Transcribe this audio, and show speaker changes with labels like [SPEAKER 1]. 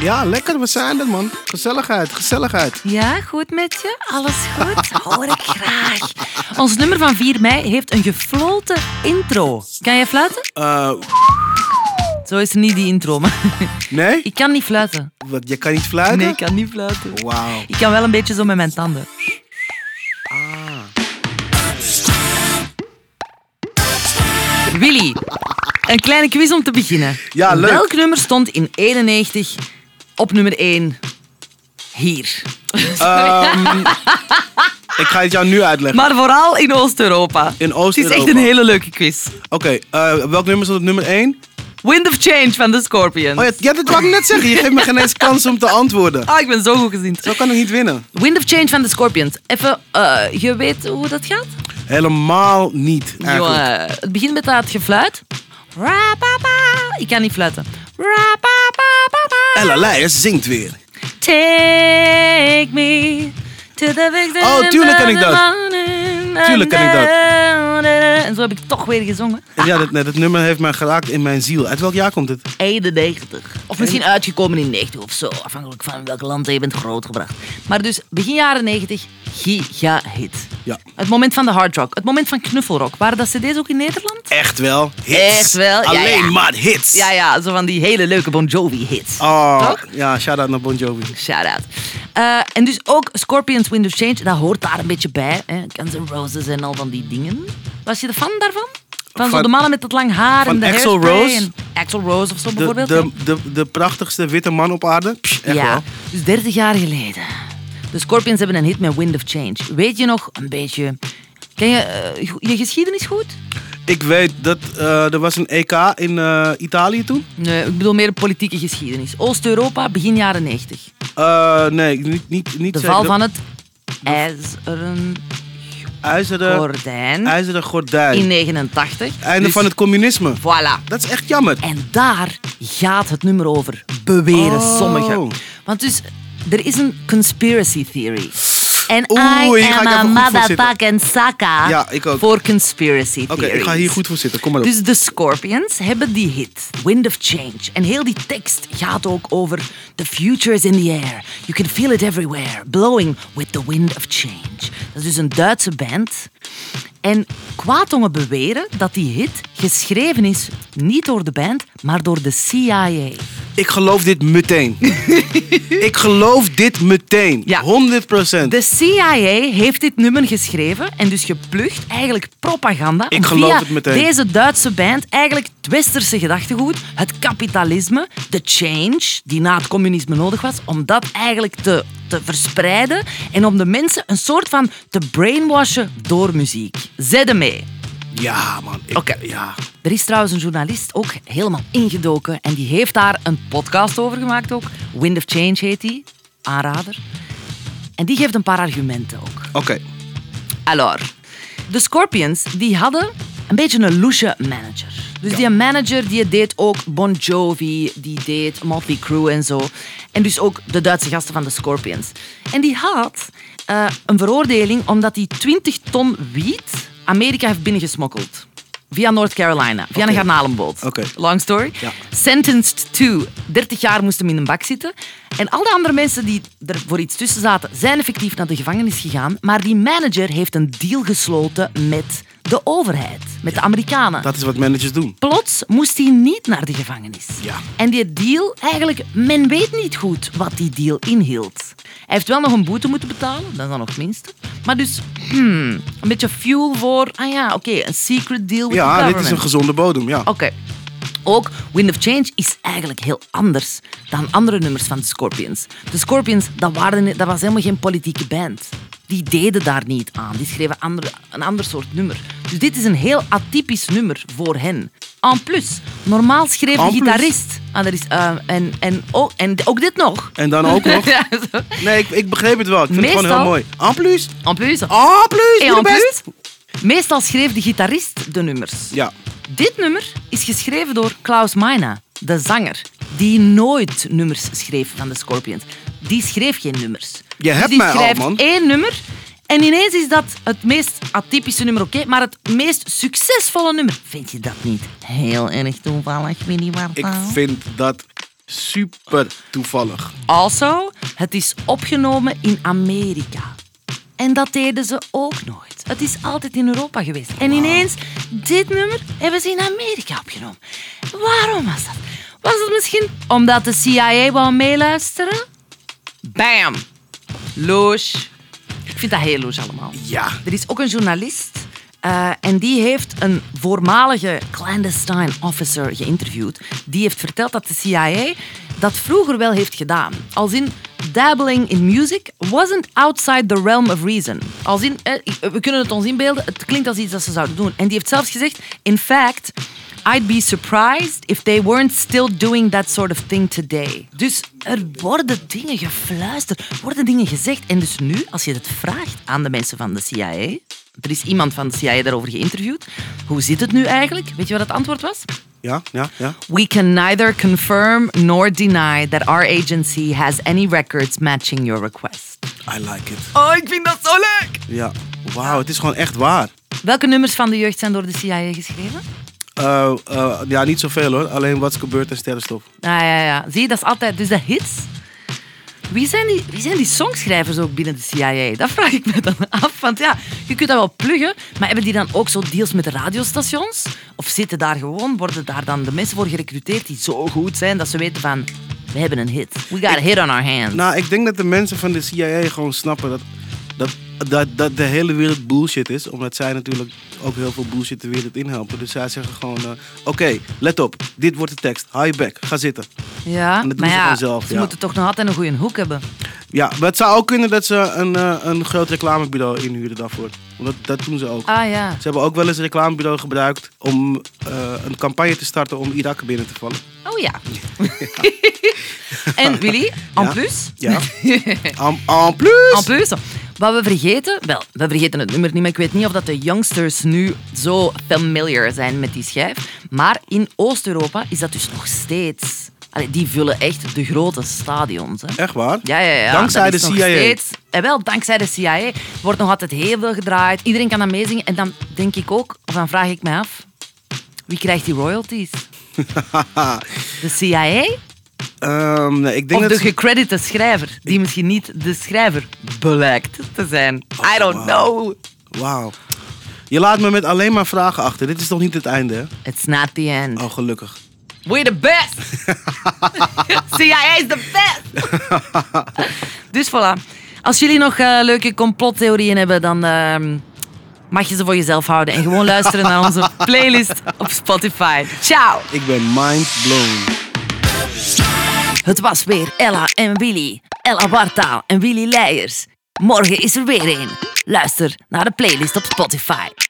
[SPEAKER 1] Ja, lekker. We zijn er, man. Gezelligheid, gezelligheid.
[SPEAKER 2] Ja, goed met je? Alles goed? Hoor ik graag. Ons nummer van 4 mei heeft een gefloten intro. Kan jij fluiten?
[SPEAKER 1] Eh,
[SPEAKER 2] Zo is niet die intro, maar...
[SPEAKER 1] nee?
[SPEAKER 2] Ik kan niet fluiten.
[SPEAKER 1] Wat, je kan niet fluiten?
[SPEAKER 2] Nee, ik kan niet fluiten.
[SPEAKER 1] Wauw.
[SPEAKER 2] Ik kan wel een beetje zo met mijn tanden. Ah. Willy, een kleine quiz om te beginnen.
[SPEAKER 1] Ja, leuk.
[SPEAKER 2] Welk nummer stond in 91 op nummer 1 hier?
[SPEAKER 1] Ik ga het jou nu uitleggen.
[SPEAKER 2] Maar vooral in Oost-Europa.
[SPEAKER 1] In
[SPEAKER 2] Het is echt
[SPEAKER 1] Oost-Europa.
[SPEAKER 2] een hele leuke quiz.
[SPEAKER 1] Oké, eh, welk nummer stond op nummer 1?
[SPEAKER 2] Wind of Change van de Scorpions.
[SPEAKER 1] Oh ja, ja, dat wou ik net zeggen. Je geeft me geen eens kans om te antwoorden.
[SPEAKER 2] Ah, ik ben zo goed gezien.
[SPEAKER 1] Zo kan ik niet winnen.
[SPEAKER 2] Wind of Change van de Scorpions. Even, eh, je weet hoe dat gaat?
[SPEAKER 1] Helemaal niet, eigenlijk.
[SPEAKER 2] Jongen, het begint met dat gefluit. Ra-pa-pa. Ik kan niet fluiten. Ra-pa-pa-pa-pa.
[SPEAKER 1] Ella Leijers zingt weer.
[SPEAKER 2] Take me to the victory.
[SPEAKER 1] Oh, tuurlijk kan ik dat. Tuurlijk kan ik dat.
[SPEAKER 2] En zo heb ik toch weer gezongen.
[SPEAKER 1] Ja, dat, nee, dat nummer heeft mij geraakt in mijn ziel. Uit welk jaar komt het?
[SPEAKER 2] 91. Of misschien uitgekomen in 90 of zo. Afhankelijk van welk land je bent grootgebracht. Maar dus begin jaren 90, giga-hit.
[SPEAKER 1] Ja.
[SPEAKER 2] Het moment van de hard rock. Het moment van knuffelrock. Waren dat cd's ook in Nederland?
[SPEAKER 1] Echt wel. Hits.
[SPEAKER 2] Echt wel, ja,
[SPEAKER 1] Alleen
[SPEAKER 2] ja.
[SPEAKER 1] maar hits.
[SPEAKER 2] Ja, ja, zo van die hele leuke Bon Jovi-hits.
[SPEAKER 1] Oh,
[SPEAKER 2] Toch?
[SPEAKER 1] ja, shout-out naar Bon Jovi.
[SPEAKER 2] Shout-out. Eh, en dus ook Scorpions Wind of Change, dat hoort daar een beetje bij. Hè. Guns N' Roses en al van die dingen. Was je de fan daarvan? Van, zo
[SPEAKER 1] Van-
[SPEAKER 2] de mannen met dat lang haar
[SPEAKER 1] van
[SPEAKER 2] en de
[SPEAKER 1] Axl
[SPEAKER 2] hairspray
[SPEAKER 1] Rose?
[SPEAKER 2] En Axl Rose of zo
[SPEAKER 1] De,
[SPEAKER 2] bijvoorbeeld.
[SPEAKER 1] de, de, de prachtigste witte man op aarde. Psh, echt
[SPEAKER 2] ja,
[SPEAKER 1] wel.
[SPEAKER 2] dus 30 jaar geleden. De Scorpions hebben een hit met Wind of Change. Weet je nog een beetje... Ken je eh, go- je geschiedenis goed?
[SPEAKER 1] Ik weet dat eh, er was een EK in eh, Italië toen.
[SPEAKER 2] Nee, ik bedoel meer de politieke geschiedenis. Oost-Europa, begin jaren 90.
[SPEAKER 1] Eh, nee, niet, niet, niet
[SPEAKER 2] De
[SPEAKER 1] zeker.
[SPEAKER 2] val van het ijzeren
[SPEAKER 1] IJzeren,
[SPEAKER 2] gordijn
[SPEAKER 1] IJzeren gordijn.
[SPEAKER 2] in 89.
[SPEAKER 1] Eh, Einde
[SPEAKER 2] Dus
[SPEAKER 1] van het communisme.
[SPEAKER 2] Voilà.
[SPEAKER 1] Dat is echt jammer.
[SPEAKER 2] En daar gaat het nummer over, beweren
[SPEAKER 1] Oh.
[SPEAKER 2] sommigen. Want dus, er is een conspiracy theory. En
[SPEAKER 1] Oeh,
[SPEAKER 2] I
[SPEAKER 1] hier ga
[SPEAKER 2] am
[SPEAKER 1] ik
[SPEAKER 2] a
[SPEAKER 1] even goed voor zitten.
[SPEAKER 2] motherfucking saka
[SPEAKER 1] Ja, ik ook.
[SPEAKER 2] voor conspiracy
[SPEAKER 1] Oké,
[SPEAKER 2] theories.
[SPEAKER 1] ik ga hier goed voor zitten. Kom maar op.
[SPEAKER 2] Dus de Scorpions hebben die hit, Wind of Change. En heel die tekst gaat ook over The future is in the air. You can feel it everywhere. Blowing with the wind of change. Dat is dus een Duitse band. En kwaadongen beweren dat die hit geschreven is niet door de band, maar door de CIA.
[SPEAKER 1] Ik geloof dit meteen. ik geloof dit meteen.
[SPEAKER 2] Ja.
[SPEAKER 1] 100
[SPEAKER 2] De CIA heeft dit nummer geschreven en dus geplucht eigenlijk propaganda.
[SPEAKER 1] Ik
[SPEAKER 2] om
[SPEAKER 1] geloof
[SPEAKER 2] via
[SPEAKER 1] het meteen.
[SPEAKER 2] Deze Duitse band eigenlijk het westerse gedachtegoed, het kapitalisme, de change die na het communisme nodig was, om dat eigenlijk te, te verspreiden en om de mensen een soort van te brainwashen door muziek. Zet hem mee.
[SPEAKER 1] Ja, man. Ik-
[SPEAKER 2] Oké.
[SPEAKER 1] Ja.
[SPEAKER 2] Er is trouwens een journalist ook helemaal ingedoken en die heeft daar een podcast over gemaakt ook. Wind of Change heet die, aanrader. En die geeft een paar argumenten ook.
[SPEAKER 1] Oké.
[SPEAKER 2] Alors, de Scorpions die hadden een beetje een loesje manager. Dus die manager die deed ook Bon Jovi, die deed Motley Crue en zo. En dus ook de Duitse gasten van de Scorpions. En die had eh, een veroordeling omdat hij 20 ton wiet Amerika heeft binnengesmokkeld. Via North Carolina, via een garnalenboot.
[SPEAKER 1] Oké.
[SPEAKER 2] Long story.
[SPEAKER 1] Ja.
[SPEAKER 2] Sentenced to 30 jaar moest hem in een bak zitten. En al de andere mensen die er voor iets tussen zaten, zijn effectief naar de gevangenis gegaan. Maar die manager heeft een deal gesloten met de overheid, met de Amerikanen.
[SPEAKER 1] Dat is wat managers doen.
[SPEAKER 2] Plots moest hij niet naar de gevangenis.
[SPEAKER 1] Ja.
[SPEAKER 2] En die deal, eigenlijk, men weet niet goed wat die deal inhield. Hij heeft wel nog een boete moeten betalen, dat is dan nog het minste. Maar dus, hmm, een beetje fuel voor, ah ja, oké, een secret deal with the
[SPEAKER 1] Ja, dit
[SPEAKER 2] government.
[SPEAKER 1] is een gezonde bodem. Ja.
[SPEAKER 2] Oké. Ook Wind of Change is eigenlijk heel anders dan andere nummers van de Scorpions. De Scorpions, dat, waren, dat was helemaal geen politieke band. Die deden daar niet aan. Die schreven andere, een ander soort nummer. Dus dit is een heel atypisch nummer voor hen. En plus, normaal schreef de
[SPEAKER 1] En plus.
[SPEAKER 2] gitarist. Ah, dat is, eh, en, en, oh, en ook dit nog.
[SPEAKER 1] En dan ook nog.
[SPEAKER 2] Ja, zo.
[SPEAKER 1] Nee, ik, ik begreep het wel. Ik vind het gewoon heel
[SPEAKER 2] Meestal-
[SPEAKER 1] mooi. En plus.
[SPEAKER 2] en plus.
[SPEAKER 1] En plus.
[SPEAKER 2] Et
[SPEAKER 1] doe
[SPEAKER 2] en
[SPEAKER 1] de best.
[SPEAKER 2] plus, meestal schreef de gitarist de nummers.
[SPEAKER 1] Ja.
[SPEAKER 2] Dit nummer is geschreven door Klaus Meina, de zanger, die nooit nummers schreef van de Scorpions. Die schreef geen nummers.
[SPEAKER 1] Je
[SPEAKER 2] Dus
[SPEAKER 1] hebt
[SPEAKER 2] die
[SPEAKER 1] mij al,
[SPEAKER 2] schrijft
[SPEAKER 1] man.
[SPEAKER 2] één nummer en ineens is dat het meest atypische nummer, oké, maar het meest succesvolle nummer. Vind je dat niet heel erg toevallig, Winnie
[SPEAKER 1] Ik
[SPEAKER 2] Wartaal?
[SPEAKER 1] vind dat super toevallig.
[SPEAKER 2] Also, het is opgenomen in Amerika. En dat deden ze ook nooit. Het is altijd in Europa geweest. En ineens, dit nummer hebben ze in Amerika opgenomen. Waarom was dat? Was het misschien omdat de CIA wou meeluisteren? Bam! Loge. Ik vind dat heel loge allemaal.
[SPEAKER 1] Ja.
[SPEAKER 2] Er is ook een journalist. eh, en die heeft een voormalige clandestine officer geïnterviewd. Die heeft verteld dat de CIA dat vroeger wel heeft gedaan. Als in dabbling in music wasn't outside the realm of reason. Als in, eh, we kunnen het ons inbeelden, het klinkt als iets dat ze zouden doen. En die heeft zelfs gezegd, in fact, I'd be surprised if they weren't still doing that sort of thing today. Dus er worden dingen gefluisterd, worden dingen gezegd. En dus nu, als je het vraagt aan de mensen van de CIA, er is iemand van de CIA daarover geïnterviewd, hoe zit het nu eigenlijk? Weet je wat het antwoord was?
[SPEAKER 1] Ja, ja, ja.
[SPEAKER 2] We can neither confirm nor deny that our agency has any records matching your request.
[SPEAKER 1] I like it.
[SPEAKER 2] Oh, ik vind dat zo leuk!
[SPEAKER 1] Ja. Wauw, het is gewoon echt waar.
[SPEAKER 2] Welke nummers van de jeugd zijn door de CIA geschreven?
[SPEAKER 1] Eh, eh, ja, niet zoveel hoor. Alleen wat is gebeurd en sterrenstof.
[SPEAKER 2] Ah, ja, ja. Zie je, dat is altijd... Dus de hits... Wie zijn, die, wie zijn die songschrijvers ook binnen de CIA? Dat vraag ik me dan af. Want ja, je kunt dat wel pluggen, maar hebben die dan ook zo deals met de radiostations? Of zitten daar gewoon, worden daar dan de mensen voor gerecruiteerd die zo goed zijn dat ze weten van, we hebben een hit. We got a hit on our hands.
[SPEAKER 1] Nou, ik denk dat de mensen van de CIA gewoon snappen dat, dat, dat, dat de hele wereld bullshit is. Omdat zij natuurlijk ook heel veel bullshit de wereld inhelpen. Dus zij zeggen gewoon, eh, oké, let op. Dit wordt de tekst. Hou je bek. Ga zitten.
[SPEAKER 2] ja,
[SPEAKER 1] en dat doen
[SPEAKER 2] maar
[SPEAKER 1] ze
[SPEAKER 2] ja,
[SPEAKER 1] vanzelf,
[SPEAKER 2] ze
[SPEAKER 1] ja.
[SPEAKER 2] moeten toch nog altijd een goede hoek hebben.
[SPEAKER 1] Ja, maar het zou ook kunnen dat ze een, eh, een groot reclamebureau inhuren daarvoor. Omdat dat doen ze ook.
[SPEAKER 2] Ah ja.
[SPEAKER 1] Ze hebben ook wel eens een reclamebureau gebruikt om eh, een campagne te starten om Irak binnen te vallen.
[SPEAKER 2] Oh ja. en Willy, en
[SPEAKER 1] Ja.
[SPEAKER 2] plus,
[SPEAKER 1] Ja. en, en plus!
[SPEAKER 2] En plus, wat we vergeten, wel, we vergeten het nummer niet, maar ik weet niet of dat de youngsters nu zo familiar zijn met die schijf. Maar in Oost-Europa is dat dus nog steeds. Allee, die vullen echt de grote stadions. Hè.
[SPEAKER 1] Echt waar?
[SPEAKER 2] Ja, ja, ja.
[SPEAKER 1] Dankzij
[SPEAKER 2] dat
[SPEAKER 1] de
[SPEAKER 2] is nog
[SPEAKER 1] CIA.
[SPEAKER 2] Steeds, en wel, dankzij de CIA wordt nog altijd heel veel gedraaid. Iedereen kan dat meezingen. En dan denk ik ook, of dan vraag ik me af, wie krijgt die royalties? De CIA
[SPEAKER 1] Ehm, nee, ik denk
[SPEAKER 2] of
[SPEAKER 1] dat
[SPEAKER 2] de
[SPEAKER 1] ze-
[SPEAKER 2] gecredite schrijver, die misschien niet de schrijver blijkt te zijn.
[SPEAKER 1] Oh,
[SPEAKER 2] I don't know.
[SPEAKER 1] Wauw. Je laat me met alleen maar vragen achter. Dit is nog niet het einde, hè?
[SPEAKER 2] It's not the end.
[SPEAKER 1] Oh, gelukkig.
[SPEAKER 2] We're the best. CIA is the best. dus voilà. Als jullie nog eh, leuke complottheorieën hebben, dan ehm, mag je ze voor jezelf houden. En gewoon luisteren naar onze playlist op Spotify. Ciao.
[SPEAKER 1] Ik ben mind blown.
[SPEAKER 2] Het was weer Ella en Willy. Ella Wartaal en Willy Leijers. Morgen is er weer een. Luister naar de playlist op Spotify.